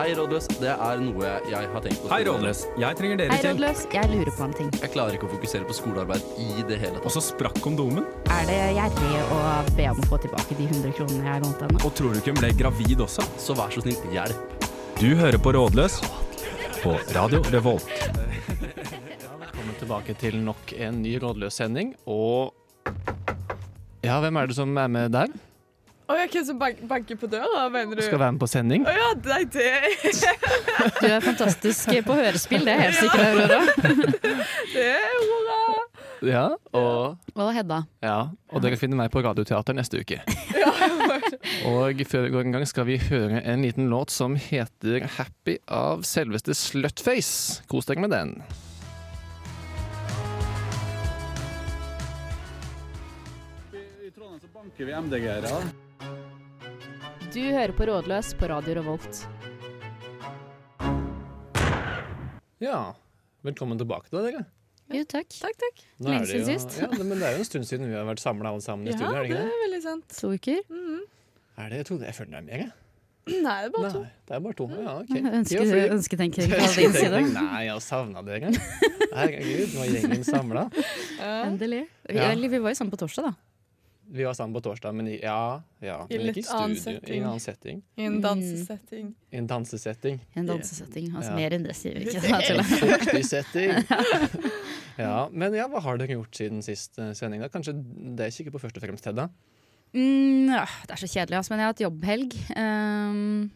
Hei, rådløs. Det er noe jeg har tenkt på. Hei, Rådløs. Jeg trenger Hei, deres hjelp. rådløs. Jeg lurer på en ting. Jeg klarer ikke å fokusere på skolearbeid i det hele Og tatt. så sprakk kondomen. Er det gjerrig å be om å få tilbake de 100 kronene jeg vant henne? Og tror du ikke hun ble gravid også? Så vær så snill, hjelp. Du hører på Rådløs på Radio Revolt. Velkommen tilbake til nok en ny rådløs sending, og Ja, hvem er det som er med der? Å ja, hvem som bank banker på døra, mener du? Skal være med på sending? Å ja, nei, det, Du er fantastisk på hørespill, det er jeg helt sikker på, Aurora. det er Aurora. Ja, og Og Hedda. Ja, og dere finner meg på Radioteater neste uke. Og før vi går en gang skal vi høre en liten låt som heter 'Happy' av selveste Slutface. Kos dere med den. I Trondheim så banker vi MDG-ere. Du hører på Rådløs på Radio Revolt. Ja, velkommen tilbake da, dere. Jo, takk. Takk, takk. Nå er Lenge det siden jo- sist. Ja, det- men det er jo en stund siden vi har vært samla alle sammen i Ja, studio, er det det ikke det? er veldig sant. To uker. Er det? Jeg trodde jeg følte deg mer, jeg. Nei, det er bare to. Nei, det er bare to. Ja, ok. Ønske, Ja, fordi- ønsketenking fra din side. Nei, jeg har savna dere. Herregud, nå er gjengen samla. Ja. Endelig. Vi, Ja. eller, vi var jo sammen på torsdag, da. Vi var sammen på torsdag, men i, ja, ja, I men ikke i litt annen studio. I setting. en annen setting. I Mm. en dansesetting. I en dansesetting. En dansesetting. Altså Ja. mer enn det sier vi ikke. da, En tuller jeg. fuktig setting. Ja, men ja, hva har dere gjort siden sist eh, sending? da? Kanskje det er ikke på først og fremst, Hedda? Mm, ja, det er så kjedelig, altså, men jeg har hatt jobbhelg. Ehm,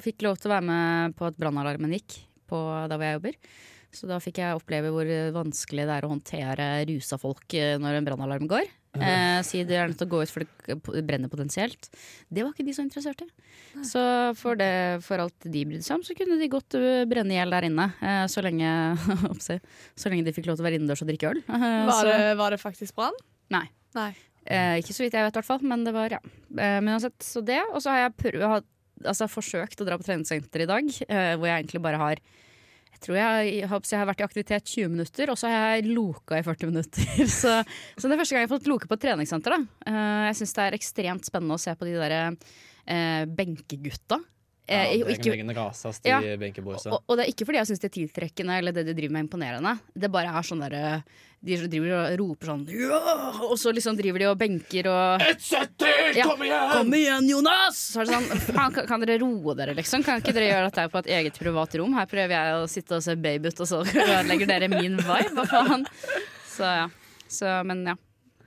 fikk lov til å være med på at brannalarmen gikk på der hvor jeg jobber. Så da fikk jeg oppleve hvor vanskelig det er å håndtere rusa folk eh, når en brannalarm går. Eh, si de er nødt til å gå ut for det k- brenner potensielt. Det var ikke de så interessert i. Så for, det, for alt de brydde seg om, så kunne de godt eh, brenne i hjel der inne. Eh, så, lenge, oppsi, så lenge de fikk lov til å være innendørs og drikke øl. Eh, så- Var det, var det faktisk brann? Nei. Nei. Eh, ikke så vidt jeg vet, i hvert fall. Men det var, ja. Eh, men uansett, så det. Og så har jeg prøv, har, altså, forsøkt å dra på treningssenter i dag, eh, hvor jeg egentlig bare har jeg tror jeg, jeg, har- jeg har vært i aktivitet 20 minutter, og så har jeg loka i 40 minutter. Så, så det er første gang jeg har fått loke på et treningssenter. Da. Eh, jeg syns det er ekstremt spennende å se på de derre eh, benkegutta. Eh, ja, og dere ikke, kan legge rasast i Ja. benkeborsa. og, og det er ikke fordi jeg syns det er tiltrekkende eller det de driver med er imponerende. Det bare er sånn derre De som driver og roper sånn ja! Og så liksom driver de og benker og 170! Kom igjen! Kom igjen, Jonas! Så er det sånn Faen, kan, kan dere roe dere, liksom? Kan ikke dere gjøre dette på et eget privat rom? Her prøver jeg å sitte og se babe ut, og så ødelegger dere min vibe? Hva faen? Så ja. Så, men ja.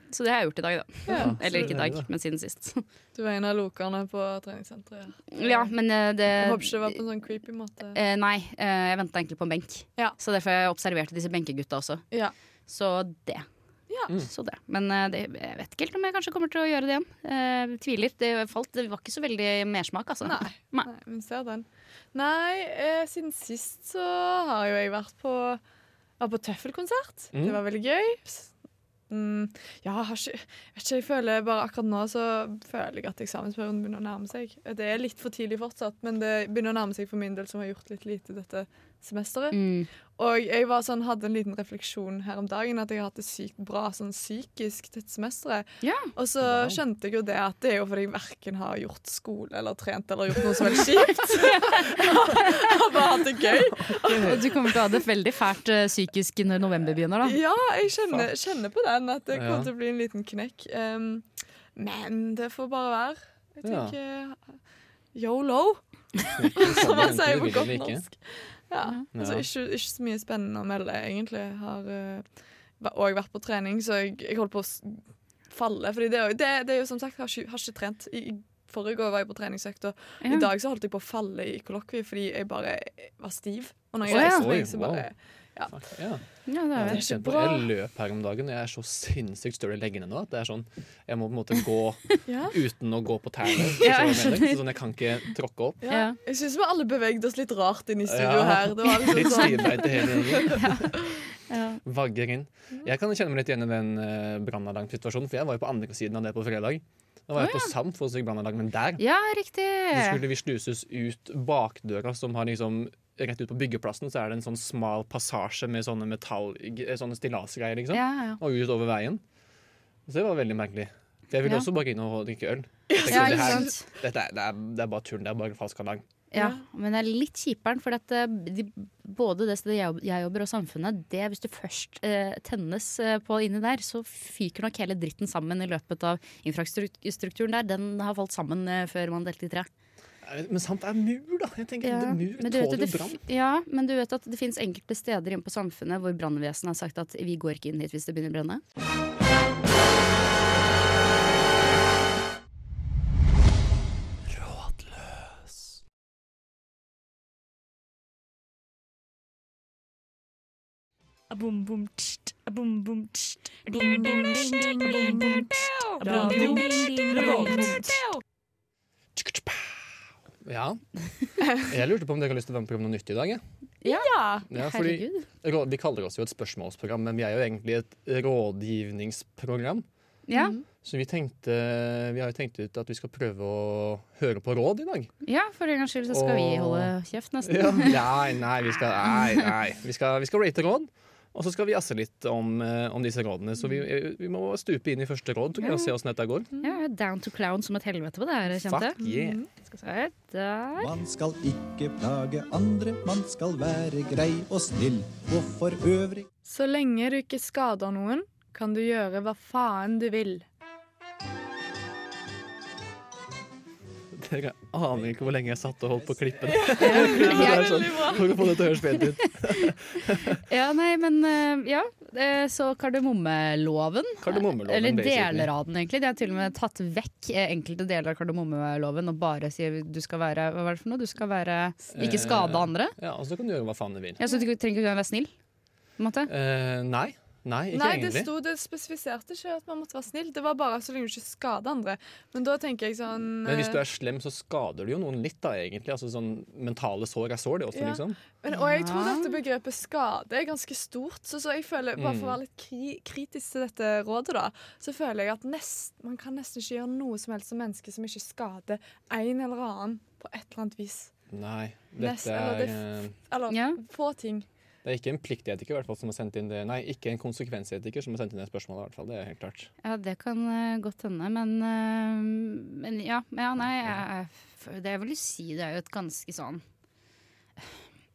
Så det har jeg gjort i dag, da. Ja. Eller ikke i dag, det er men siden sist. Du var en av lokerne på treningssenteret. ja. Ja, men eh, det Jeg håper ikke det var på en sånn creepy måte. Eh, nei, eh, jeg venta egentlig på en benk. Ja. Så derfor jeg observerte disse benkegutta også. Ja. Så det. Ja. Så det. Men eh, det, jeg vet ikke helt om jeg kanskje kommer til å gjøre det igjen. Eh, tviler. Det, falt. det var ikke så veldig mersmak, altså. Nei. Nei. Nei, vi ser den. Nei, eh, siden sist så har jo jeg vært på, var på tøffelkonsert. Mm. Det var veldig gøy. Pss. Mm, ja, jeg har ikke, jeg vet ikke, jeg føler bare akkurat nå så føler jeg at eksamensperioden begynner å nærme seg. Det er litt for tidlig fortsatt, men det begynner å nærme seg for min del som har gjort litt lite dette semesteret. Mm. Og jeg var sånn, hadde en liten refleksjon her om dagen at jeg har hatt det sykt bra sånn psykisk dette semesteret. Ja. Og så Wow. skjønte jeg jo det at det er jo fordi jeg verken har gjort skole eller trent eller gjort noe som helst kjipt. jeg har bare hatt det gøy. Og du kommer til å ha det veldig fælt eh, psykisk når november begynner, da. Ja, jeg kjenner, kjenner på den at det Ja. kommer til å bli en liten knekk. Um, men det får bare være. Jeg Ja. tenker yolo, som man sier på godt norsk. Ja. Altså, Ja. ikke, ikke så mye spennende å melde, egentlig. Har òg vært på trening, så jeg, jeg holdt på å s- falle. Fordi det, er jo- det, det er jo som sagt, jeg har ikke, har ikke trent. I, i forrige år var jeg på treningsøkt, og Ja. i dag så holdt jeg på å falle i kollokvie fordi jeg bare var stiv. Og når Å, jeg ja. reiste Oi, meg, så wow. bare Ja. Ja, det er Jeg, det. kjenner på, bra. jeg løp her om dagen, og jeg er så sinnssykt støl i leggene nå at det er sånn, jeg må på en måte gå Ja. uten å gå på tærne. Ja, jeg skjønner du hva jeg mener? Sånn jeg kan ikke tråkke opp. Ja. Ja. Jeg syns vi alle bevegde oss litt rart inn i studio Ja. her. Det var liksom Litt sånn stivbeint i hele gjengen. Ja. Vagger inn. Jeg kan kjenne meg litt igjen i den eh, brannalarmsituasjonen, for jeg var jo på andre siden av det på fredag. Da var jeg på Samt for å søke brannalarm, men der ja, riktig. så skulle vi sluses ut bakdøra som har liksom Rett ut på byggeplassen så er det en sånn smal passasje med sånne metall... eh, Sånne stillasgreier, liksom. Ja, ja. og ut over veien. Så det var veldig merkelig. For jeg ville Ja. også bare inn og drikke øl. Jeg tenkte, Ja, det, ikke her, sant. dette er, det, er, det er bare tull, det er bare falsk alarm. Ja, Ja. men det er litt kjiperen, for at eh, de, både det stedet jeg, jobb- jeg jobber og samfunnet, det hvis du først eh, tennes eh, på inni der, så fyker nok hele dritten sammen i løpet av infrastrukturen der. Den har falt sammen eh, før man delte i tre. Men sant, det er mur, da. Jeg tenker, Ja, det Mur men du vet at tåler det jo brann. f- Ja, men du vet at det finnes enkelte steder inne på samfunnet hvor brannvesenet har sagt at vi går ikke inn hit hvis det begynner å brenne. Ja. Jeg lurte på om dere har lyst til å være med på noe nytt i dag. jeg. Ja. Ja, fordi Herregud. rå- Vi kaller oss jo et spørsmålsprogram, men vi er jo egentlig et rådgivningsprogram. Ja, Så vi, tenkte, vi har jo tenkt ut at vi skal prøve å høre på råd i dag. ja, for en gangs skyld så skal vi Åh. holde kjeft, nesten. Ja. Nei, nei, vi skal, nei, nei. Vi skal, vi skal rate råd. Og så skal vi jazze litt om, eh, om disse rådene. Så vi, eh, vi må stupe inn i første råd tror jeg, og se åssen dette går. Ja, down to clown som et helvete på det her, kjente Fuck yeah. Skal vi se, der. Man skal ikke plage andre, man skal være grei og snill. Og for øvrig Så lenge du ikke skader noen, kan du gjøre hva faen du vil. Dere aner ikke hvor lenge jeg satt og holdt på å klippe det. Jeg- Det er sånn, For å få det til å høres pent ut. Ja, nei, men eh, ja. eh, Så kardemommeloven. Kardemommeloven, Eller basically. deler av den, egentlig. De har til og med tatt vekk eh, enkelte deler av kardemommeloven og bare sier du skal være Hva var det for noe? Du skal være Ikke skade Eh. andre. Ja, og så kan du gjøre hva faen du vil. Ja, så du trenger ikke å være snill. På en måte. Eh, nei. Nei, ikke Nei, det egentlig. sto det spesifiserte ikke at man måtte være snill. Det var bare så lenge du ikke skader andre. Men da tenker jeg sånn Men hvis du eh, er slem, så skader du jo noen litt, da, egentlig. Altså sånn mentale sår er sår, det også, Ja. liksom. eh, men, Og jeg tror Ja. dette begrepet skade er ganske stort, så, så jeg føler, bare Mm. for å være litt kri kritisk til dette rådet, da, så føler jeg at nest, man kan nesten ikke gjøre noe som helst som menneske som ikke skader en eller annen på et eller annet vis. Nei. Nest- Dette eller er det eh, Eller Ja. få ting. Det er ikke en pliktetiker i hvert fall, som har sendt inn det. Nei, ikke en konsekvensetiker som har sendt inn det spørsmålet. i hvert fall, Det er helt klart. Ja, det kan eh, godt hende, men, eh, men ja, ja, nei, jeg, jeg- det jeg vil si det er jo et ganske sånn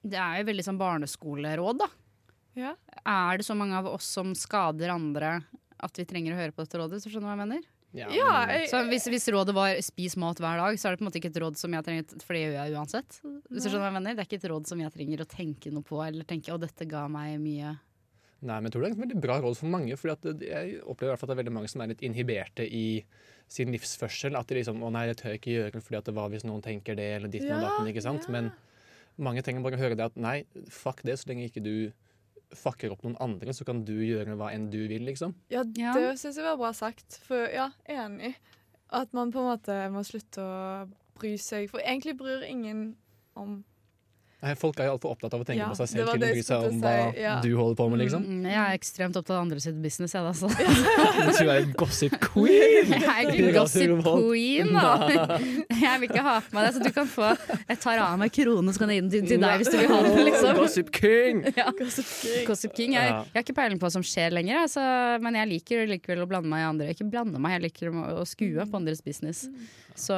Det er jo veldig sånn barneskoleråd, da. Ja. Er det så mange av oss som skader andre at vi trenger å høre på dette rådet? Så skjønner du hva jeg mener? Ja, men- jeg, Så hvis, hvis rådet var 'spis mat hver dag', så er det på en måte ikke et råd som jeg trenger For det gjør jeg uansett. Hvis du skjønner hva jeg mener? Det er ikke et råd som jeg trenger å tenke noe på, eller tenke 'å, dette ga meg mye'. Nei, men jeg tror det er et veldig bra råd for mange. fordi at det- jeg opplever i hvert fall at det er veldig mange som er litt inhiberte i sin livsførsel. At de liksom 'Å nei, det tør jeg ikke gjøre, fordi at det var hvis noen tenker det', eller ditt og Ja, datten. ikke sant? ja. Men mange trenger bare å høre det at nei, fuck det, så lenge ikke du fucker opp noen andre, så kan du gjøre hva enn du vil, liksom. ja, Ja. det syns jeg var bra sagt. For ja, enig. At man på en måte må slutte å bry seg. For egentlig bryr ingen om Nei, Folk er jo altfor opptatt av å tenke Ja, på seg det selv var til å det bry seg jeg om skulle til å hva si, ja. du holder på med, liksom. Mm, Jeg er ekstremt opptatt av andre sitt business, jeg, da. Så. Du er en gossip queen! Jeg er ikke en gossip queen, da. Jeg vil ikke ha på meg det. Så du kan få Jeg tar av meg kronen, så kan jeg gi den til, til deg hvis du vil ha den, liksom. Gossip king! Ja. Gossip King. Jeg, Ja. jeg har ikke peiling på hva som skjer lenger, jeg, så- men jeg liker likevel å blande meg i andre. Ikke blande meg, jeg liker å å skue på andres business. Så,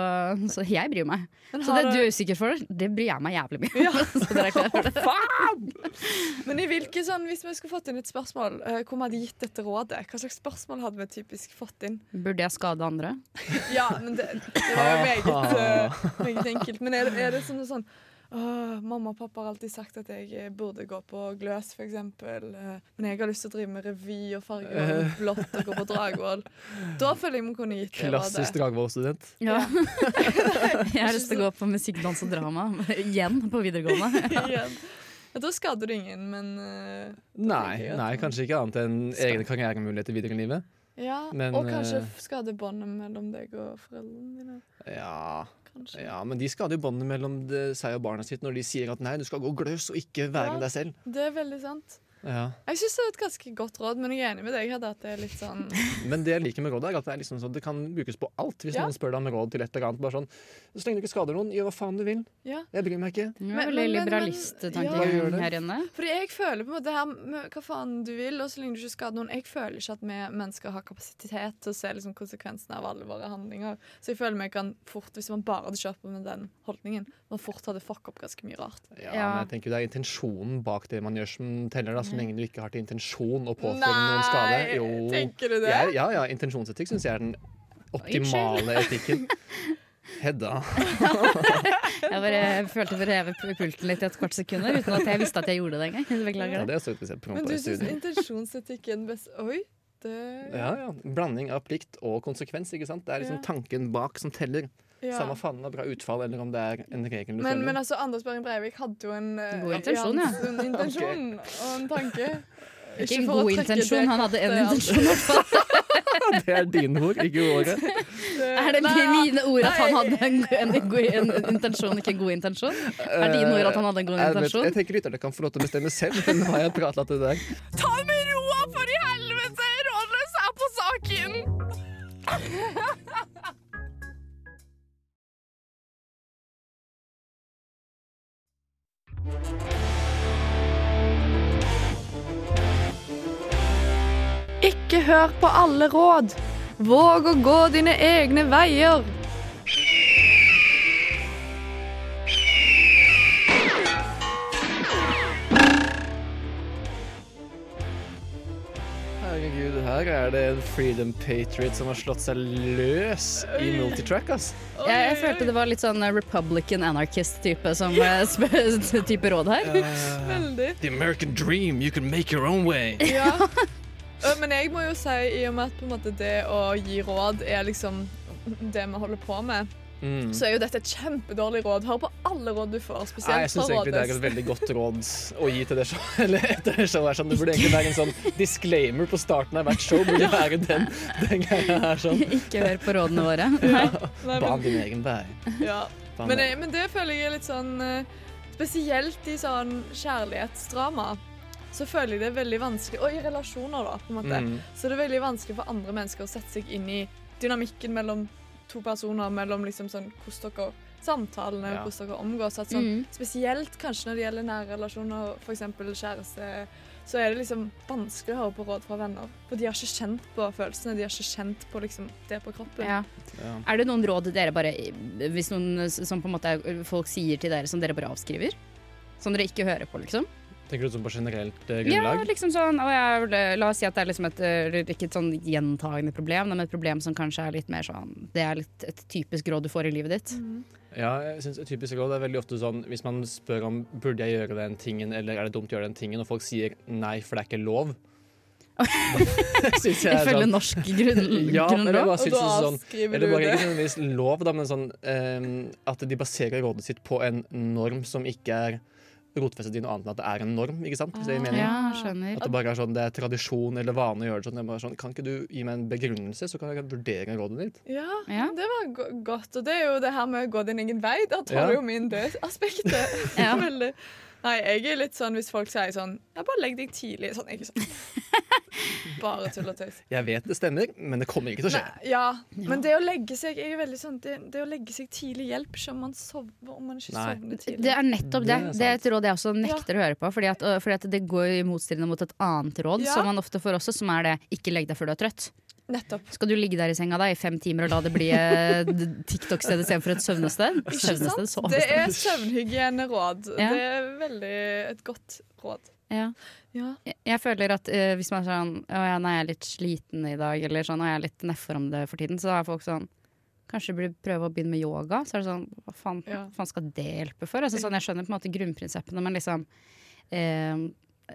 så jeg bryr meg. Men Så har det dere- du er usikker for, det bryr jeg meg jævlig mye om. Så dere er klare for det. Men i hvilke sånn, Hvis vi skulle fått inn et spørsmål, eh, hvor vi hadde gitt dette rådet, hva slags spørsmål hadde vi typisk fått inn? Burde jeg skade andre? Ja, men det, det var jo meget, eh, meget enkelt. Men er det, er det sånn, sånn «Åh, Mamma og pappa har alltid sagt at jeg eh, burde gå på gløs, f.eks. Men jeg har lyst til å drive med revy og farge og blått og gå på Dragvoll. Da føler jeg vi kunne gitt det Klassisk rådet. Dragvoll-student. Ja. Jeg har lyst til å gå på musikk, dans og drama igjen på videregående. Igjen. Ja, da skader du ingen, men eh, Nei, nei, kanskje ikke annet enn egne karrieremuligheter videre i livet. Ja. Men, og kanskje eh, skader båndet mellom deg og foreldrene dine. Ja, Kanskje. ja men de skader jo båndet mellom det, seg og barna sitt når de sier at nei, du skal gå gløs og ikke være Ja. med deg selv. Det er veldig sant. Ja. Jeg syns det er et ganske godt råd, men jeg er enig med deg. Hedda, at det er litt sånn Men det jeg liker med rådet, er at det, er liksom sånn, det kan brukes på alt. Hvis Ja. noen spør deg om råd til et eller annet. Bare sånn, så lenge du ikke skader noen, gjør hva faen du vil. Ja. Jeg bryr meg ikke. Det Men- er veldig men- men- Hva gjør liberalisttankegang det? her inne. Fordi jeg føler på en måte her med hva faen du vil, og så lenge du ikke skader noen Jeg føler ikke at vi mennesker har kapasitet til å se liksom konsekvensene av alle våre handlinger. Så jeg føler meg kan fort, hvis man bare hadde kjørt på med den holdningen, man fort hadde fucka opp ganske mye rart. Ja, Ja. Men jeg tenker jo det er intensjonen bak det man gjør som teller, da, så lenge du ikke har til intensjon å påføre noen skade. Mm. Nei, Jo. tenker du det? Jeg- ja, ja, intensjonsetikk syns jeg er den optimale etikken. Hedda. Jeg bare følte for å heve pu- pulten litt i et kvart sekund her, uten at jeg visste at jeg gjorde det engang. Ja, Beklager det. det er så utvisert program Men på du i syns studio. intensjonsetikk er den beste Oi, det Ja, ja. Blanding av plikt og konsekvens. ikke sant? Det er liksom Ja. tanken bak som teller. Ja. Samme faen om det er bra utfall eller om det er en regel du Men, følger. men altså, Anders Behring Breivik hadde jo en eh, God intensjon, ja. En intensjon og en tanke. Ikke en for å god trekke intensjon, det han hadde en kortet, altså. intensjon i hvert fall. det er dine ord, ikke våre. Er det mi- mine ord at han hadde en, go- en, go- en intensjon, ikke en god intensjon? Er dine ord at han hadde en god Eh, Jeg, vet, intensjon? jeg tenker lytterne kan få lov til å bestemme selv. Men nå har jeg pratlatt det der. Ta med roa, for i helvete! Rådløs er på saken! Ikke hør på alle råd. Våg å gå dine egne veier. Herregud, her er det en Freedom Patriot som har slått seg løs i multitrack, ass. Jeg, jeg følte det var litt sånn Republican anarchist-type som eh, sp- type råd her. Veldig. The American dream, you can make your own way. Ja. Eh, Men jeg må jo si, i og med at på en måte det å gi råd er liksom det vi holder på med, Mm. så er jo dette et kjempedårlig råd. Hør på alle råd du får, Nei, jeg spesielt syns fra egentlig det er et rådet. veldig godt råd å gi til det showet. Eller etter det showet er sånn, det burde egentlig være en sånn disclaimer på starten av hvert show. Burde være den, den greia her sånn. Ikke hør på rådene våre. Nei. Nei, men- Ban din egen vei. ja. Ban Men, din- det- men det føler jeg er litt sånn eh, Spesielt i sånn kjærlighetsdrama. Så føler jeg det er veldig vanskelig Og i relasjoner, da. på en måte Mm. Så det er veldig vanskelig for andre mennesker å sette seg inn i dynamikken mellom to personer, mellom liksom sånn hvordan dere samtalene Ja. og hvordan dere omgås. At sånn, Mm. Spesielt kanskje når det gjelder nære relasjoner, f.eks. kjæreste, så er det liksom vanskelig å høre på råd fra venner. For de har ikke kjent på følelsene, de har ikke kjent på liksom det på kroppen. Ja. Ja. Er det noen råd dere bare Hvis noen s- som på en måte er- folk sier til dere som dere bare avskriver? Som dere ikke hører på, liksom? Tenker du sånn på generelt eh, Ja, grunnlag? liksom sånn og jeg, La oss si at det er liksom et eh, ikke et sånn gjentagende problem, men et problem som kanskje er litt mer sånn Det er litt et typisk råd du får i livet ditt. Ja, jeg synes et typisk råd er veldig ofte sånn hvis man spør om burde jeg gjøre den tingen, eller er det dumt å gjøre den tingen, og folk sier nei, for det er ikke lov. Det synes jeg er Ifølge sånn. norsk grunn, Ja, men det grunnlov. bare Og synes da det er sånn avskriver eller du bare det. ikke nødvendigvis lov, da, men sånn ehm, at de baserer rådet sitt på en norm som ikke er rotfestet i noe annet enn at det er en norm, ikke sant? Hvis det gir mening. Ah, Ja, skjønner. At det bare er sånn, det er tradisjon eller vane å gjøre det sånn. Det er bare sånn. Kan ikke du gi meg en begrunnelse, så kan jeg vurdere rådet ditt? Ja, Ja. det var go godt. Og det er jo det her med å gå din egen vei. Der tar Ja. du jo min død-aspektet. Ja. Veldig. Nei, jeg er litt sånn hvis folk sier sånn Ja, bare legg deg tidlig. Sånn, jeg er sånn Bare tull og tøys. Jeg vet det stemmer, men det kommer ikke til å skje. Nei, Ja, men det å legge seg Jeg er veldig sånn Det, det å legge seg tidlig hjelper ikke om man sover Om man ikke Nei. sovner Det tidlig. er nettopp det. Det er Det er et råd jeg også nekter å høre på. Fordi, at, og- fordi at det går i motstridende mot et annet råd Ja. som man ofte får også, som er det 'ikke legg deg før du er trøtt'. Nettopp. Skal du ligge der i senga da i fem timer og la det bli eh, d- TikTok-sted istedenfor et søvnested? Søvnested, Det sovested. er søvnhygieneråd. Ja. Det er veldig et godt råd. Ja. Ja. Jeg- Jeg føler at eh, hvis man er sånn 'Å ja, nei, jeg er litt sliten i dag', eller sånn 'Å, jeg er litt nedfor om det for tiden', så er folk sånn Kanskje du burde prøve å begynne med yoga? Så er det sånn Hva faen, Ja. hva faen skal det hjelpe for? Altså, sånn, jeg skjønner på en måte grunnprinsippene, men liksom eh,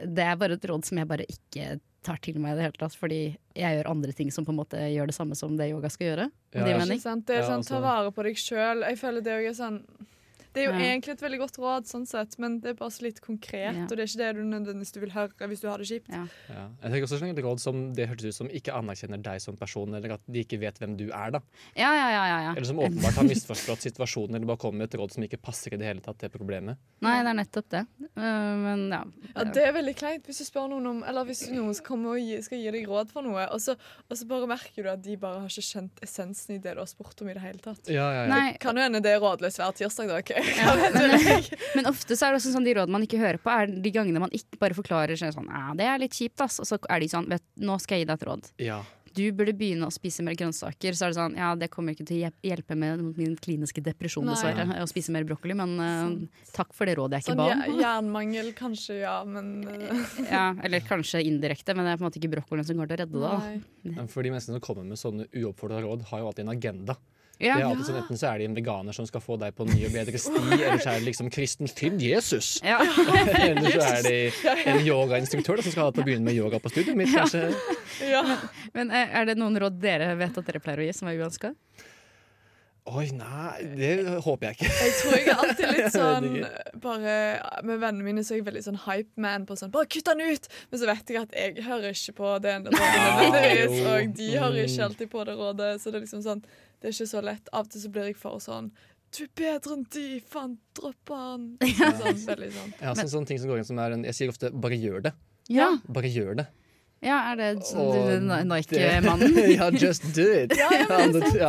Det er bare et råd som jeg bare ikke tar til meg i det hele tatt, fordi jeg gjør andre ting som på en måte gjør det samme som det yoga skal gjøre. Om Ja, det ja. gir mening. Ikke sant? Det er Ja, sånn, altså- ta vare på deg sjøl. Jeg føler det òg er sånn Det er jo Ja. egentlig et veldig godt råd, sånn sett, men det er bare så litt konkret. Ja. Og det er ikke det du nødvendigvis du vil høre hvis du har det kjipt. Ja. Ja. Jeg tenker også sånn et råd som det hørtes ut som ikke anerkjenner deg som person, eller at de ikke vet hvem du er. da. Ja, ja, ja. ja, ja. Eller som åpenbart har misforstått situasjonen, eller bare kommer med et råd som ikke passer i det hele tatt til problemet. Nei, det er nettopp det. Eh, men ja. Ja, Det er veldig kleint hvis du spør noen om Eller hvis noen skal komme og gi, skal gi deg råd for noe, og så, og så bare merker du at de bare har ikke skjønt essensen i det du har spurt om i det hele tatt. Ja, ja, Nei, Kan jo hende det er rådløst hver tirsdag, da. Okay? Hva vet jeg? men ofte så er det også sånn de råd man ikke hører på, er de gangene man ikke bare forklarer sånn, sånn «Ah, det er litt kjipt, ass. Og så er de sånn, vet nå skal jeg gi deg et råd. ja. Du burde begynne å spise mer grønnsaker. Så er det sånn, ja, det kommer ikke til å hjel- hjelpe med min kliniske depresjon, Nei. dessverre, å spise mer brokkoli, men eh, takk for det rådet jeg ikke Sånn ba ja, om. jernmangel, kanskje, ja, men eh, Ja, eller kanskje indirekte, men det er på en måte ikke brokkolien som kommer til å redde det. nei. Men For de menneskene som kommer med sånne uoppfordra råd, har jo alltid en agenda. da. Ja, Det er alltid sånn, Enten så er de en veganer som skal få deg på en ny og bedre sti, eller så er det liksom kristen Finn Jesus. ja. Eller så er de en yogainstruktør da, som skal ha deg til å begynne med yoga på studiet mitt. kanskje. Ja. Men eh, er det noen råd dere vet at dere pleier å gi som er uønska? Oi, nei, det håper jeg ikke. Jeg tror jeg er alltid litt sånn Jeg Bare Med vennene mine så er jeg veldig sånn hype man på sånn Bare kutt han ut! Men så vet jeg at jeg hører ikke på det ene rådet nødvendigvis, jo. og de hører ikke Mm. alltid på det rådet, så det er liksom sånn Det er ikke så lett. Av og til så blir jeg for sånn Du er bedre enn de! Faen, dropp han! Sånn, veldig sånn. Jeg har sånn, sånn ting som går inn som er en, Jeg sier ofte 'bare gjør det'. Ja. Bare gjør det. ja, er det Og sånn du- Nike-mannen? det- ja, just do it. ja,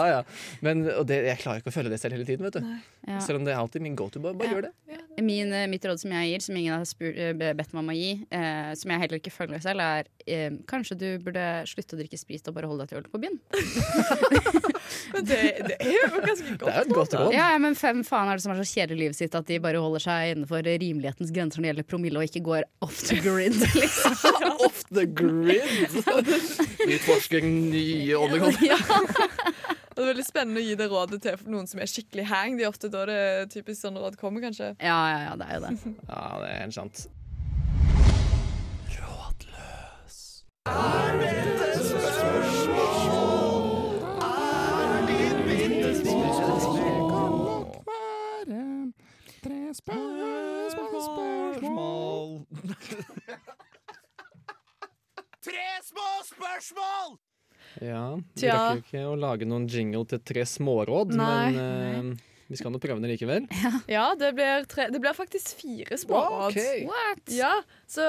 ja. Men, og det, jeg klarer ikke å følge det selv hele tiden, vet du. Ja. Selv om det er alltid min go to. Bare, bare Ja. gjør det. Min, eh, mitt råd som jeg gir, som ingen har spurt, eh, be- bedt meg om å gi, eh, som jeg heller ikke følger selv, er eh, kanskje du burde slutte å drikke sprit og bare holde deg til øl på byen. Men det, det er jo ganske Det er jo godt. et godt råd. Ja, ja, men hvem faen er det som er så kjedelig i livet sitt at de bare holder seg innenfor rimelighetens grenser når det gjelder promille, og ikke går off the grid, liksom? Off the grid! Utforsker nye åndegang. Ja. Og Det er veldig spennende å gi det rådet til noen som er skikkelig hang. Det er ofte da det typisk sånne råd kommer, kanskje. Ja, ja, ja, det er jo det. Ja, det er helt sant. Ja, Vi Tja. rakk jo ikke å lage noen jingle til tre småråd, Nei. men eh, vi skal nå prøve det likevel. Ja, det blir, tre, det blir faktisk fire små råd. Ok. What? Ja, så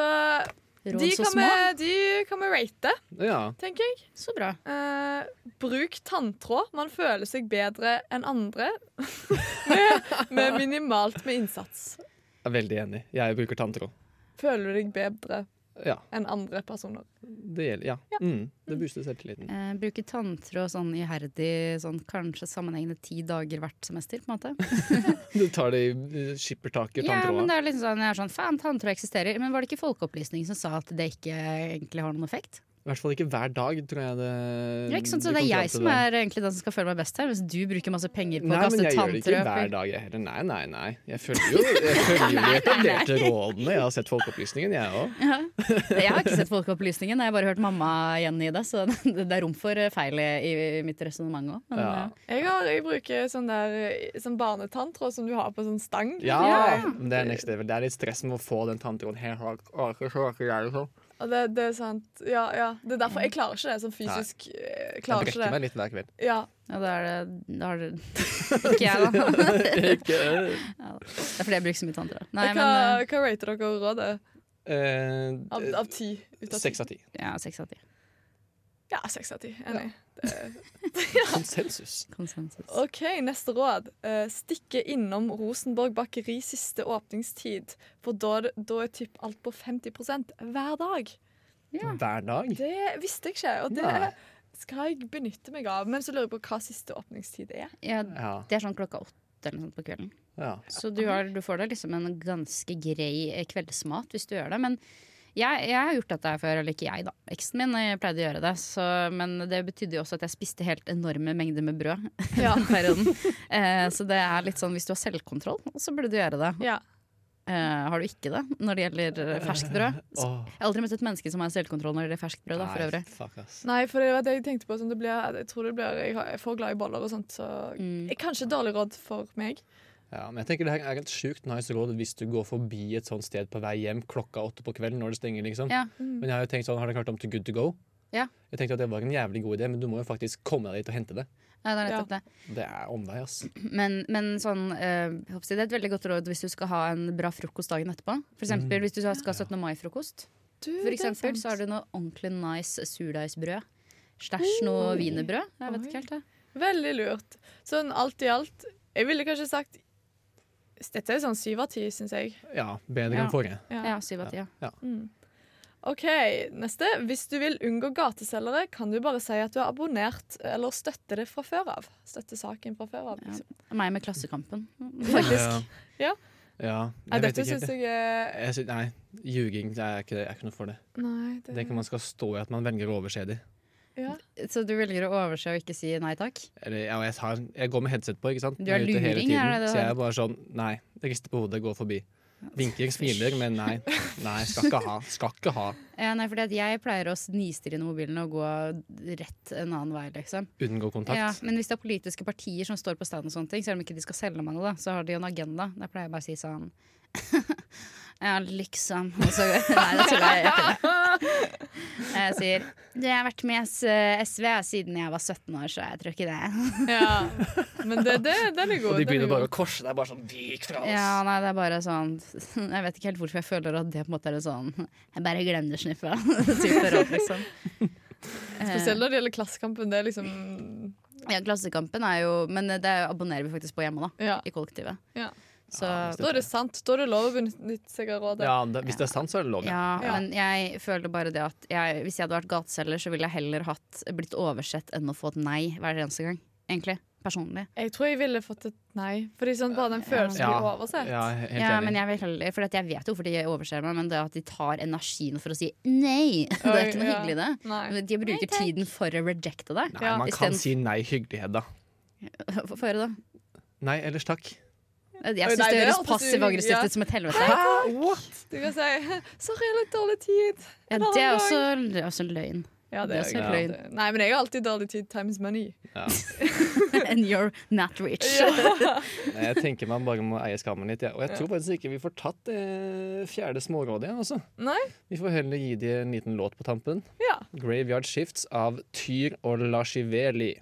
Råd de så kan, små. vi, de kan vi rate, Ja. tenker jeg. Så bra. Eh, bruk tanntråd. Man føler seg bedre enn andre med, med minimalt med innsats. Jeg er veldig enig. Jeg bruker tanntråd. Føler du deg bedre Ja, enn andre personer? det gjelder. Ja. Mm, det booster selvtilliten. Eh, bruke tanntråd sånn iherdig, sånn kanskje sammenhengende ti dager hvert semester, på en måte. Du tar det i eh, skippertaket, Ja, men tanntråden. det er liksom sånn, jeg er sånn, faen, tanntråd eksisterer. Men var det ikke folkeopplysning som sa at det ikke egentlig har noen effekt? I hvert fall ikke hver dag, tror jeg det Det er ikke sant, så du det er kommer fram jeg til som det. er egentlig den som skal føle meg best her, hvis du bruker masse penger på å Nei, men kaste jeg gjør det ikke tanntråd. hver dag, jeg heller. Nei, nei, nei. Jeg følger jo jeg følger jo de etablerte rådene. Jeg har sett Folkeopplysningen, jeg òg. Jeg har ikke sett Folkeopplysningen, jeg har bare hørt mamma igjen i det, så det det er rom for feil i, i mitt resonnement eh, òg. Ja. Jeg, har, jeg bruker sånn der sånn barnetanntråd som du har på sånn stang. Ja, men det er next level. Det er litt stress med å få den tanntråden helt hardt. Åh, så orker jeg det sånn. Og det, det er sant. Ja, ja. Det er derfor jeg klarer ikke det. Sånn fysisk eh, Jeg klarer brekker ikke det. meg litt hver kveld. Ja. Ja, da er det Da har det Ikke jeg, da. Det er fordi jeg bruker så mye tanntråd. Nei, hva, men eh, hva rater dere rådet? Av, Eh, av ti? Ut av ti? Seks av ti. eh, ja, seks av ti. Ja, seks av ti. Enig. Konsensus. Konsensus. OK, neste råd. Eh, stikke innom Rosenborg bakeri siste åpningstid. For da, da er tipp alt på 50 hver dag. Ja. Hver dag. Det visste jeg ikke, og det Nei. skal jeg benytte meg av. Men så lurer jeg på hva siste åpningstid er. Ja, Ja. det er sånn klokka åtte eller noe sånt på kvelden. ja. Så du, har, du får deg liksom en ganske grei eh, kveldsmat hvis du gjør det. Men jeg, jeg har gjort dette her før, eller ikke jeg, da. Eksen min eh, pleide å gjøre det. Så, men det betydde jo også at jeg spiste helt enorme mengder med brød. Ja. den perioden. Eh, så det er litt sånn hvis du har selvkontroll, så burde du gjøre det. Ja. Eh, har du ikke det når det gjelder eh, ferskt brød? Så, Åh, jeg har aldri møtt et menneske som har selvkontroll når det gjelder ferskt brød, da, for nei, øvrig. Fuck, ass. Nei, for det var det jeg tenkte på. Sånn det blir, jeg tror det blir Jeg har- jeg er for glad i boller og sånt, så Mm. jeg, Kanskje dårlig råd for meg. Ja, men jeg tenker det her er et sjukt nice råd hvis du går forbi et sånt sted på vei hjem klokka åtte på kvelden når det stenger, liksom. Ja. Mm. Men jeg har jo tenkt sånn, har dere hørt om Too Good To Go? Ja. Jeg tenkte at det var en jævlig god idé, men du må jo faktisk komme deg dit og hente det. Nei, det er nettopp det. Det er omvei, ass. Men, men sånn, eh, jeg håper å si det er et veldig godt råd hvis du skal ha en bra frokost dagen etterpå. For eksempel Mm. hvis du skal ha 17. mai-frokost. Du, For eksempel så har du noe ordentlig nice surdeigsbrød. Stæsj noe wienerbrød. Jeg vet Oi. ikke helt, jeg. Veldig lurt. Sånn alt i alt Jeg ville kanskje sagt Dette er sånn syv av ti, syns jeg. Ja, bedre Ja. enn forrige. Ja, syv av ti. Ja. Mm. OK, neste. Hvis du vil unngå gateselgere, kan du bare si at du har abonnert eller støtter det fra før av. Støtter saken fra før av. Ja. Liksom. Meg med Klassekampen. Faktisk. Ja. Ja, Nei, jeg vet dette ikke syns helt. det. jeg er Jeg sy- Nei, ljuging det er ikke, det er ikke noe for det. Nei, Jeg tenker man skal stå i at man velger å overse de. ja. Så du velger å overse og ikke si nei takk? Eller, ja, jeg, tar, jeg går med headset på, ikke sant? Du er Jeg ute hele luring, tiden, er det det Så jeg du er bare sånn, nei, jeg rister på hodet, går forbi. Vinker, smiler, men nei, nei, skal ikke ha, skal ikke ha. Ja, nei, fordi at jeg pleier å nistirre mobilen og gå rett en annen vei, liksom. Unngå kontakt. Ja, men hvis det er politiske partier som står på stand, og sånne ting selv om ikke de skal selge meg noe, da, så har de jo en agenda. Da pleier jeg bare å si sånn Ja, liksom. Og så, nei, da tuller jeg. Jeg tuller. Jeg sier Du, jeg har vært med i S- SV siden jeg var 17 år, så jeg tror ikke det. ja. Men det, det, den er god. Og de den er begynner bare god. å korse deg, bare sånn, vik fra oss. Ja, nei, det er bare sånn Jeg vet ikke helt hvorfor jeg føler at det på en måte er en sånn Jeg bare glemmer det sniffa. Type råd, liksom. Spesielt når det gjelder Klassekampen. Det er liksom Eh, Ja, Klassekampen er jo Men det abonnerer vi faktisk på hjemme, da. Ja. I kollektivet. Ja. Så Ja, Da er det sant. Da er det lov å benytte seg av rådet. Ja, det, hvis det er sant, så er det lov. Ja. Ja, Ja. men jeg føler bare det at jeg, Hvis jeg hadde vært gateselger, så ville jeg heller hatt blitt oversett enn å få et nei hver eneste gang. Egentlig. Personlig. Jeg tror jeg ville fått et nei. Fordi sånn bare den følelsen Ja. blir oversett. Ja, helt Ja, enig. men jeg, vil heller, for at jeg vet jo hvorfor de overser meg, men det at de tar energien for å si nei, det er ikke noe ja. hyggelig, det. Nei. De bruker tiden for å rejecte deg. Nei, Ja, man isteden- kan si nei hyggelig, Hedda. Få høre, da. Nei, ellers takk. Jeg Oi, syns det nei, høres det er alltid så hyggelig, passiv-aggressivt ja. ut som et helvete. Du kan si 'sorry, jeg har litt dårlig tid'. Ja, det er også, det er også løgn. Ja, Det er jo også greit. løgn. Nei, men jeg har alltid dårlig tid. Times money. And you're not rich. Nei, Jeg tenker man bare må eie skammen litt. Ja. Og jeg tror faktisk ikke vi får tatt det fjerde smårådet igjen. Altså. Nei? Vi får heller gi de en liten låt på tampen. Ja. 'Graveyard Shifts' av Tyr og Lashiveli.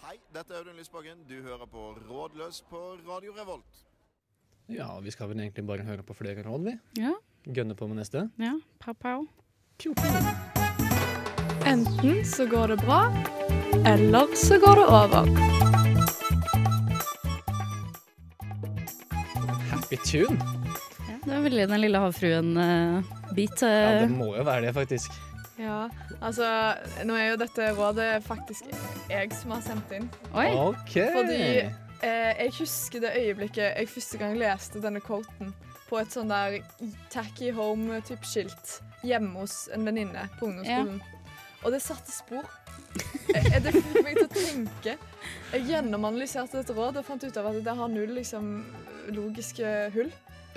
Hei, dette er Audun Lysbakken. Du hører på Rådløs på Radio Revolt. Ja, vi skal vel egentlig bare høre på flere råd, vi. Ja, Gønne på med neste. ja. Pow-pow. Enten så går det bra, eller så går det over. Happy tune! Ja, det var veldig Den lille eh, havfruen-bit. Ja, det må jo være det, faktisk. Ja, altså, nå er jo dette rådet faktisk jeg som har sendt inn. Oi! OK! Fordi- Eh, jeg husker det øyeblikket jeg første gang leste denne quoten på et sånn der tacky home-type skilt hjemme hos en venninne på ungdomsskolen. Og det satte spor. Eh, Det fikk meg til å tenke. Jeg gjennomanalyserte dette rådet og fant ut av at det har null liksom, logiske hull.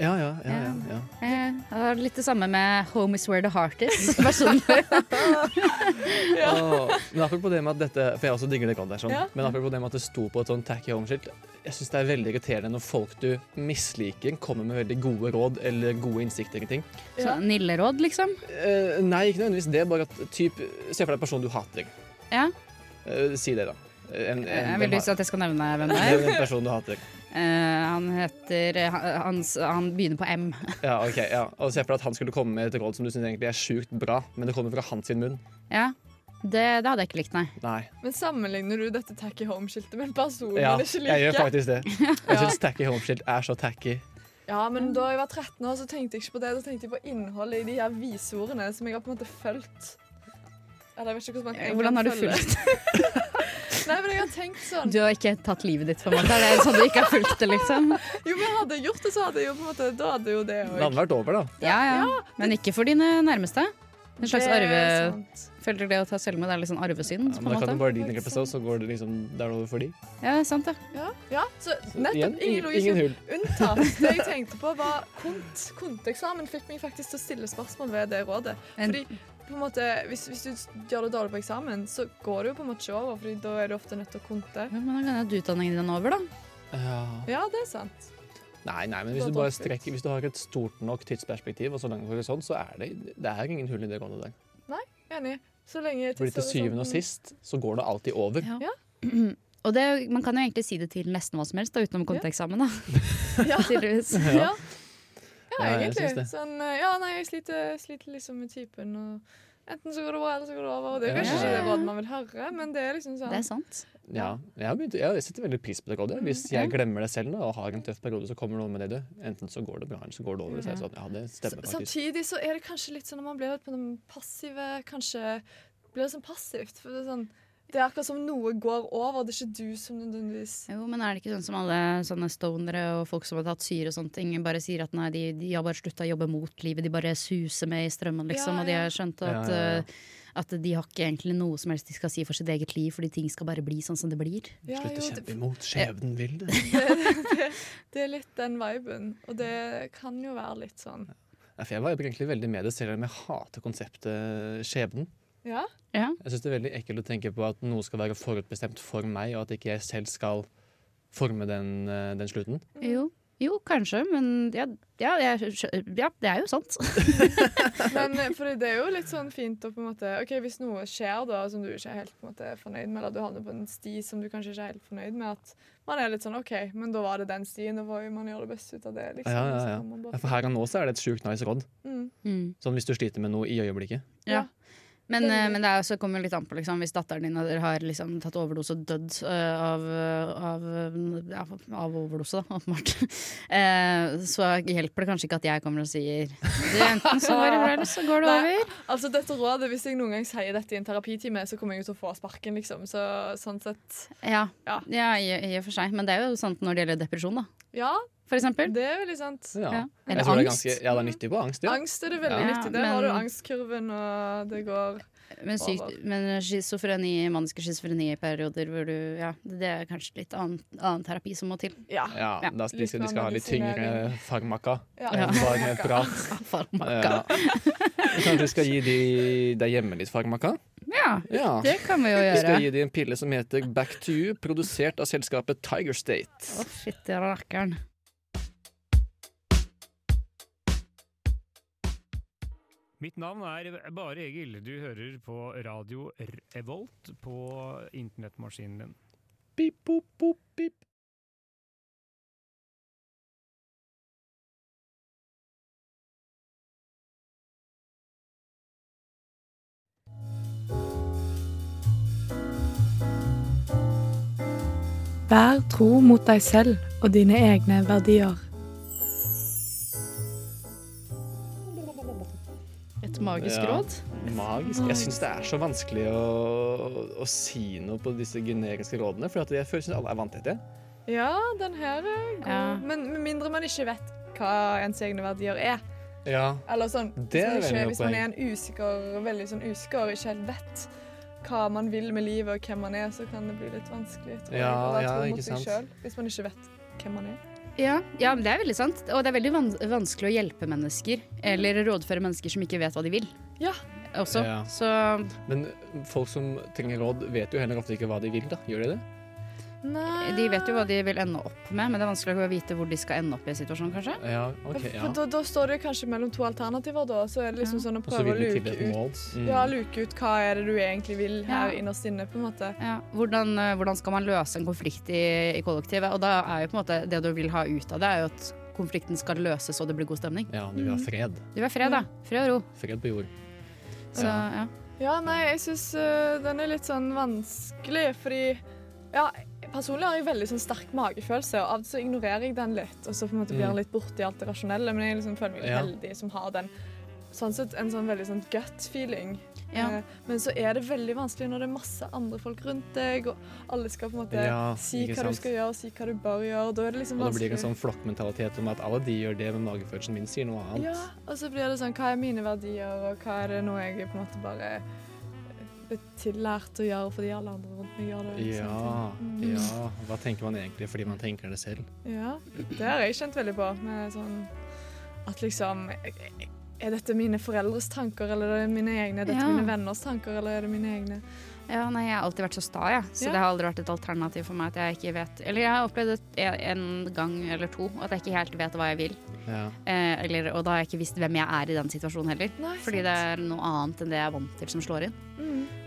Ja, ja, ja, ja, ja. Eh, Det var litt det samme med 'Home is where the heart is'. Personlig. Åh, men apropos det med at dette For jeg også digger det rådet her, sånn. Ja. Men apropos det med at det sto på et sånn tacky home-skilt. Jeg syns det er veldig irriterende når folk du misliker, kommer med veldig gode råd eller gode innsikter i ting. Ja. Så Nilleråd, liksom. Eh, nei, ikke nødvendigvis det, bare at typ, Se for deg en person du hater. Ja. Eh, si det, da. En, en, Jeg hvem vil har- lyst til at jeg skal nevne hvem det er. en person du hater. Eh, han heter eh, han, hans- han begynner på M. Ja, ok, ja. Og se for deg at han skulle komme med et råd som du syns egentlig er sjukt bra, men det kommer fra hans sin munn. Ja. Det, det hadde jeg ikke likt, nei. Nei. Men sammenligner du dette tacky home-skiltet med en person Ja, man ikke jeg gjør liker? faktisk det. Jeg syns tacky homeskilt er så tacky. Ja, men da jeg var 13 år, så tenkte jeg ikke på det. Da tenkte jeg på innholdet i de her viseordene som jeg har på en måte fulgt. Eller jeg vet ikke hvordan man Eh, Hvordan har du følge. fulgt? Nei, men jeg har tenkt sånn Du har ikke tatt livet ditt, på en måte. Det er sånn du ikke har fulgt det, liksom. Jo, men hadde jeg gjort det, så hadde jeg jo på en måte Da hadde jo det Det òg. hadde vært over, da. Ja, ja. Men ikke for dine nærmeste. En slags Det arve... er Føler dere det å ta selvmord er litt sånn arvesynd? Ja, på en men da kan måte? jo bare de drepe seg, så går det liksom der over for de. Ja, sant det. Ja, ja så Så nettopp. igjen, ingen ingen, logisk ingen hull. Unntatt. Det jeg tenkte på, var kont. Konteksamen fikk meg faktisk til å stille spørsmål ved det rådet. En- Fordi på en måte, hvis, hvis du gjør det dårlig på eksamen, så går det jo på en måte ikke over, Fordi da er du ofte nødt til å konte. Ja, men da kan jeg ha utdanningen din over, da. Ja. Ja, det er sant. Nei, nei, men hvis du bare strekker Hvis du har et stort nok tidsperspektiv, og så lang horisont, så er det, det er ingen hull i det gående der. Enig. Så lenge Fordi til tidshorisonten- syvende og sist så går det alltid over. Ja. Og det, man kan jo egentlig si det til nesten hva som helst, da, utenom konteksamen, da. Ja. Tydeligvis. Ja. Ja, Ja, jeg syns egentlig. det. Sånn, ja, nei, jeg sliter, sliter liksom med typen. Og enten så går det bra, eller så går det over. Og det er Ja, kanskje ja, ikke det ja. rådet man vil høre, men det er liksom sånn Det er sant. Ja, jeg, har begynt, jeg setter veldig pris på det rådet. Hvis jeg glemmer det selv nå, og har en tøff periode, så kommer noen med det. du. Enten så går det bra, eller så går det over. Så er det sånn, ja, det stemmer faktisk. Samtidig så er det kanskje litt sånn når man blir litt på den passive Kanskje blir det sånn passivt. For det er sånn det er akkurat som noe går over. Det er ikke du som nødvendigvis Jo, men er det ikke sånn som alle sånne stonere og folk som har tatt syre og sånne ting, bare sier at nei, de, de har bare slutta å jobbe mot livet, de bare suser med i strømmen, liksom, Ja, og de ja. har skjønt Ja, at, ja, ja. eh, at de har ikke egentlig noe som helst de skal si for sitt eget liv, fordi ting skal bare bli sånn som det blir. ja, Slutt å jo, kjempe det, imot. Skjebnen vil det. det er litt den viben. Og det kan jo være litt sånn. Ja, for jeg var egentlig veldig med det, selv om jeg hater konseptet eh, skjebnen. Ja. Ja. Jeg syns det er veldig ekkelt å tenke på at noe skal være forutbestemt for meg, og at ikke jeg selv skal forme den, eh, den slutten. Jo. Jo, kanskje, men ja, ja, jeg, skjø- ja, det er jo sant. Men eh, fordi det er jo litt sånn fint å på en måte OK, hvis noe skjer da som du ikke er helt på en måte fornøyd med, eller du havner på en sti som du kanskje ikke er helt fornøyd med, at man er litt sånn OK, men da var det den stien, og får jo man gjøre det beste ut av det, liksom. Ja, ja, og så ja. kan man Ja, bare- for her og nå så er det et sjukt nice råd. Mm. Mm. Sånn hvis du sliter med noe i øyeblikket. Ja. Ja. Men, Det- eh, men det er også, kommer jo litt an på liksom, hvis datteren din har- har liksom, tatt overdose og dødd eh, av, eh, av, eh, ja, av overdose, da, åpenbart. Eh, så hjelper det kanskje ikke at jeg kommer og sier du, enten så går det bra, eller så går det Nei. over. Altså dette rådet, Hvis jeg noen gang sier dette i en terapitime, så kommer jeg jo til å få sparken. liksom. Så sånn sett, Ja, Ja. ja i, i og for seg. Men det er jo sant når det gjelder depresjon, da, Ja, for eksempel. det er veldig sant. Ja. Jeg Eller tror det er angst. ganske- ja, det er nyttig på angst. Ja. Angst er det veldig Ja, nyttig. Der har du men- angstkurven, og det går Men, syk, men schizofreni, maniske schizofreniperioder hvor du Ja, det er kanskje litt annen, annen terapi som må til. Ja. Ja, Ja. da- de, Litt skal- de skal ha litt sånn eh, tyngre medisinering. farmaka. Ja. Ja. Bare prat. Farmaka. Ja. Kanskje vi skal gi de deg hjemme litt farmaka? Ja, Ja. det kan vi jo Vi skal gjøre. gi de en pille som heter Back to You, produsert av selskapet Tiger State. Å, fytti rakkeren. Mitt navn er Bare Egil. Du hører på radio Revolt på internettmaskinen din. Pip, pop, pop, pip. Vær tro mot deg selv og dine egne verdier. Et magisk Ja. råd. Magisk. Jeg syns det er så vanskelig å, å si noe på disse generiske rådene, for at jeg føler at alle er vant til det. Ja, den her er god. Ja. Men med mindre man ikke vet hva ens egne verdier er. Ja. Eller sånn, Det hvis, er man ikke, veldig hvis man er godt en usikker, veldig sånn usikker og ikke helt vet hva man vil med livet og hvem man er, så kan det bli litt vanskelig. Tror jeg, Ja, å være ja, tro ikke mot seg sant. selv, hvis man ikke vet hvem man er. Ja, ja, men det er veldig sant. Og det er veldig van vanskelig å hjelpe mennesker, eller rådføre mennesker som ikke vet hva de vil. Ja. Også. Ja. Så Men folk som trenger råd, vet jo heller ofte ikke hva de vil, da. Gjør de det? Nei. de vet jo hva de vil ende opp med, men det er vanskelig å vite hvor de skal ende opp i situasjonen, kanskje. Ja, ok, ja. For da, da står det kanskje mellom to alternativer, da. Så er det liksom Ja. sånn å Og så prøve vil å de luke til et ut, mål. Mm. ja, luke ut hva er det du egentlig vil her Ja. innerst inne, på en måte. Ja. Hvordan, eh, hvordan skal man løse en konflikt i, i kollektivet? Og da er jo på en måte det du vil ha ut av det, er jo at konflikten skal løses og det blir god stemning. Ja, du vil ha fred. Du er fred, da. Fred og ro. Fred på jord. Så ja. Ja, nei, jeg syns den er litt sånn vanskelig, fordi ja, Personlig har jeg veldig sånn sterk magefølelse, og av og til så ignorerer jeg den litt. Og så på en måte blir Mm. den litt borti alt det rasjonelle, men jeg liksom føler meg litt Ja. heldig som har den sånn sett en sånn veldig sånn gut feeling. Ja. Eh, Men så er det veldig vanskelig når det er masse andre folk rundt deg, og alle skal på en måte Ja, si ikke hva du sant. skal gjøre, og si hva du bør gjøre. Da er det liksom Og det blir vanskelig. en sånn flokkmentalitet om at alle de gjør det, men magefølelsen min sier noe annet. Ja, og så blir det sånn Hva er mine verdier, og hva er det nå jeg på en måte bare er tillært å gjøre fordi alle andre rundt meg gjør det? Ja, sånne ting. Mm. ja. Hva tenker man egentlig fordi man tenker det selv? Ja, det har jeg kjent veldig på. Med sånn at liksom Er dette mine foreldres tanker, eller er det mine egne? Er dette Ja. mine venners tanker, eller er det mine egne? Ja, nei, Jeg har alltid vært så sta, jeg. Så Ja. det har aldri vært et alternativ for meg at jeg ikke vet Eller jeg har opplevd det en- en gang eller to at jeg ikke helt vet hva jeg vil. Ja. Eh, eller, og da har jeg ikke visst hvem jeg er i den situasjonen heller. fordi det er noe annet enn det jeg er vant til som slår inn.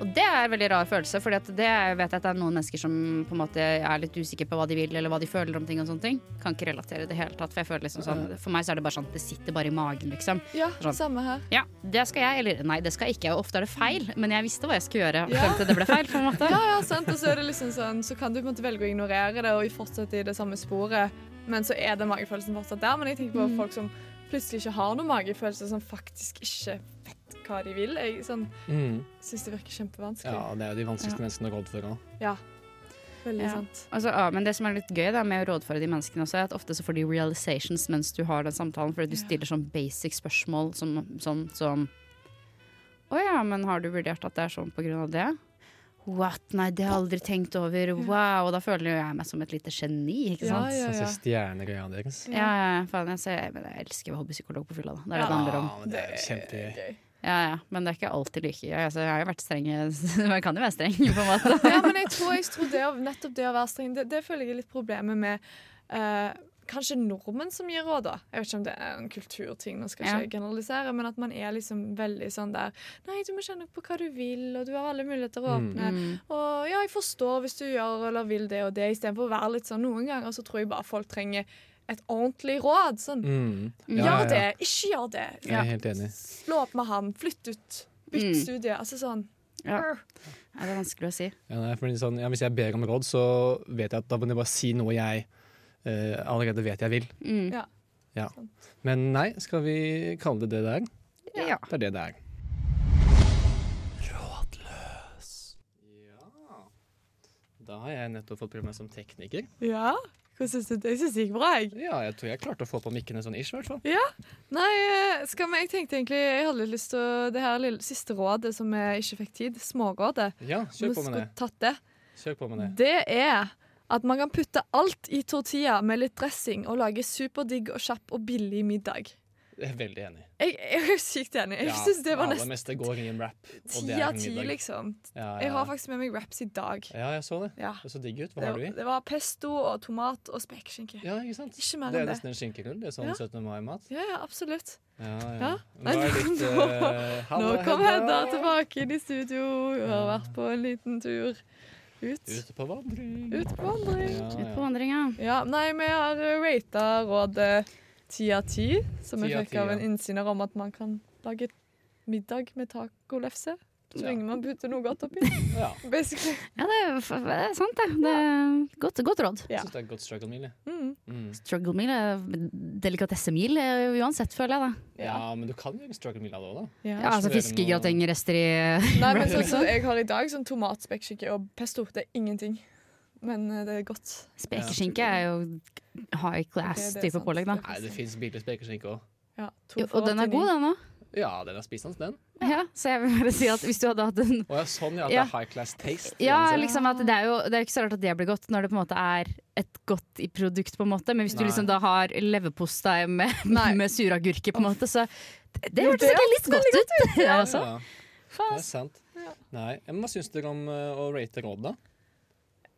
Og det er en veldig rar følelse, for det vet jeg at det er noen mennesker som på en måte er litt usikre på hva de vil, eller hva de føler om ting og sånne ting. Kan ikke relatere i det hele tatt, for jeg føler liksom sånn For meg så er det bare sånn, det sitter bare i magen, liksom. Ja, Sånn. samme her. Ja, det skal jeg, eller nei, det skal jeg ikke. Ofte er det feil, men jeg visste hva jeg skulle gjøre frem til det ble feil, på en måte. Ja, ja, sant. Og så er det liksom sånn, så kan du på en måte velge å ignorere det og fortsette i det samme sporet, men så er den magefølelsen fortsatt der. Men jeg tenker på Mm. folk som plutselig ikke har noen magefølelse, som faktisk ikke vet hva de vil. Jeg sånn, Mm. syns det virker kjempevanskelig. Ja, det er jo de vanskeligste menneskene å råde for nå. Ja. Veldig Ja. sant. Altså, ja, men det som er litt gøy da, med å rådføre de menneskene også, er at ofte så får de realizations mens du har den samtalen, fordi du stiller sånn basic spørsmål som, sånn som Å ja, men har du vurdert at det er sånn på grunn av det? What? Nei, det har jeg aldri tenkt over. Wow. Og da føler jo jeg meg som et lite geni, ikke sant? Så ser stjerneøya Sånn deres. Ja, ja, ja, faen, jeg, ser, men jeg elsker å være hobbypsykolog på fylla, da. Det er det det handler om. Ja, men det er jo kjempegøy. Ja, ja, men det er ikke alltid like gøy. Altså, jeg har jo vært streng, man kan jo være streng, på en måte. Ja, men jeg tror, jeg tror det, å- nettopp det å være streng, det, det føler jeg er litt problemet med eh, kanskje nordmenn som gir råd, da. Jeg vet ikke om det er en kulturting, nå skal ikke Ja. jeg generalisere, men at man er liksom veldig sånn der Nei, du må kjenne på hva du vil, og du har alle muligheter å Mm. åpne. Mm. Og ja, jeg forstår hvis du gjør eller vil det og det, istedenfor å være litt sånn noen ganger, så tror jeg bare folk trenger et ordentlig råd. Sånn Mm. Ja, ja, ja. Gjør det, ikke gjør det. Jeg er helt enig. Slå opp med han, flytt ut, bytt Mm. studie. Altså sånn. Ja. det er vanskelig å si. Ja, nei, for det er sånn, ja, hvis jeg ber om råd, så vet jeg at da må jeg bare si noe jeg eh, allerede vet jeg vil. Ja. Ja. Men nei, skal vi kalle det det det er? Ja. Det er det det er. Rådløs. Da har jeg nettopp fått prøve meg som tekniker. Ja, hva syns du? Jeg syns det gikk bra, jeg. Ja, jeg tror jeg klarte å få på mikkene sånn ish, i hvert fall. Ja. Nei, eh, skal vi, jeg tenkte egentlig Jeg hadde litt lyst til å Det her lille, siste rådet som jeg ikke fikk tid, smårådet Ja, kjør Om vi på med skulle det. Tatt det. Kjør på med det. Det er at man kan putte alt i tortilla med litt dressing og lage superdigg og kjapp og billig middag. Jeg er veldig enig. Jeg, jeg er sykt enig. Jeg synes det var det aller nesten meste går i en rap. og ti det er av en ti, middag. liksom. Ja, ja. Jeg har faktisk med meg wraps i dag. ja, jeg så det. Ja. Det så digg ut. Hva Det, har du i? det var pesto og tomat og spekeskinke. Ja, ikke sant? Ikke mer Det er enn det. nesten en skinkerull. Det er sånn Ja. 17. mai-mat. Ja, ja, absolutt. Ja, ja. Ja. Nå er det litt, Nå- eh, Nå halla, kom Hedda Hedda. tilbake inn i studio. Hun har vært på en liten tur. Ut. Ute på vandring. Ut på vandring. Ut på vandring, ja. Ja, nei, vi har eh, rata rådet ti av ti, som vi 10 av fikk 10, av ja. en innsender om at man kan lage middag med tacolefse. Så Ja. lenge man putter noe godt oppi. Ja. Basically. Ja, det er, f- det er sant, det. det er godt, godt råd. Jeg syns det er et godt struggle meal. jeg. Mm. Mm. Struggle meal er delikatessemil eh, uansett, føler jeg. da Ja, men du kan gjøre struggle meal av det òg, da. Ja. Ja, altså Fiskegratengrester i eh, Nei, men sånn som jeg har i dag, sånn tomatspekkskinke og pesto, det er ingenting. Men eh, det er godt. Spekeskinke er jo high Det- det er class-type sant. pålegg, da. Nei, det fins billig spekeskinke òg. Ja, to Jo, for og den er 89. god, den òg. Ja, den er spisende, den. Ja, så jeg vil bare si at hvis du hadde hatt en Å ja, sånn ja. At Ja. det er high class taste. Ja, uansett. liksom at det er jo det er jo ikke så rart at det blir godt, når det på en måte er et godt i produkt, på en måte. Men hvis du Nei. liksom da har leverpostei med, med suragurker, på en måte, så det- Det Jo, hørtes det egentlig litt godt ut. Ja, altså. Ja, det er sant. Nei, men Hva syns dere om eh, å rate råd, da?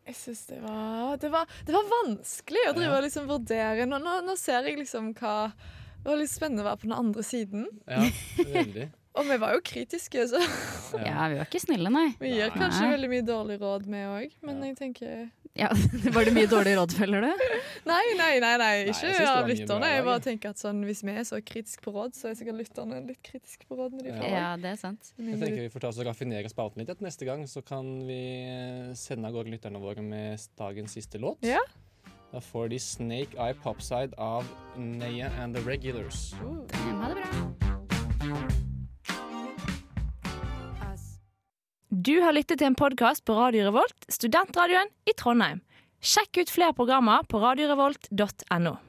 Jeg synes det var Det var, det var vanskelig å drive Ja. og liksom vurdere. Nå, nå, nå ser jeg liksom hva Det var litt spennende å være på den andre siden. Ja, veldig. Og vi var jo kritiske, så Ja, vi var ikke snille, nei. vi gir kanskje Nei. veldig mye dårlig råd, vi òg. Men jeg tenker Ja, Var det mye dårlige råd, føler du? Nei, nei, nei, nei jeg ikke synes det var av mye lytterne. bra Jeg i dag, bare tenker at sånn, Hvis vi er så kritiske på råd, så er sikkert lytterne litt kritiske på rådene de får. Ja, det er sant. Jeg tenker Vi får ta oss og raffinere spalten litt. at Neste gang så kan vi eh, sende av gårde lytterne våre med dagens siste låt. Ja. Da får de 'Snake Eye Popside' av Neya and The Regulars. Ha det bra. Du har lyttet til en podkast på Radio Revolt, studentradioen i Trondheim. Sjekk ut flere programmer på radiorevolt.no.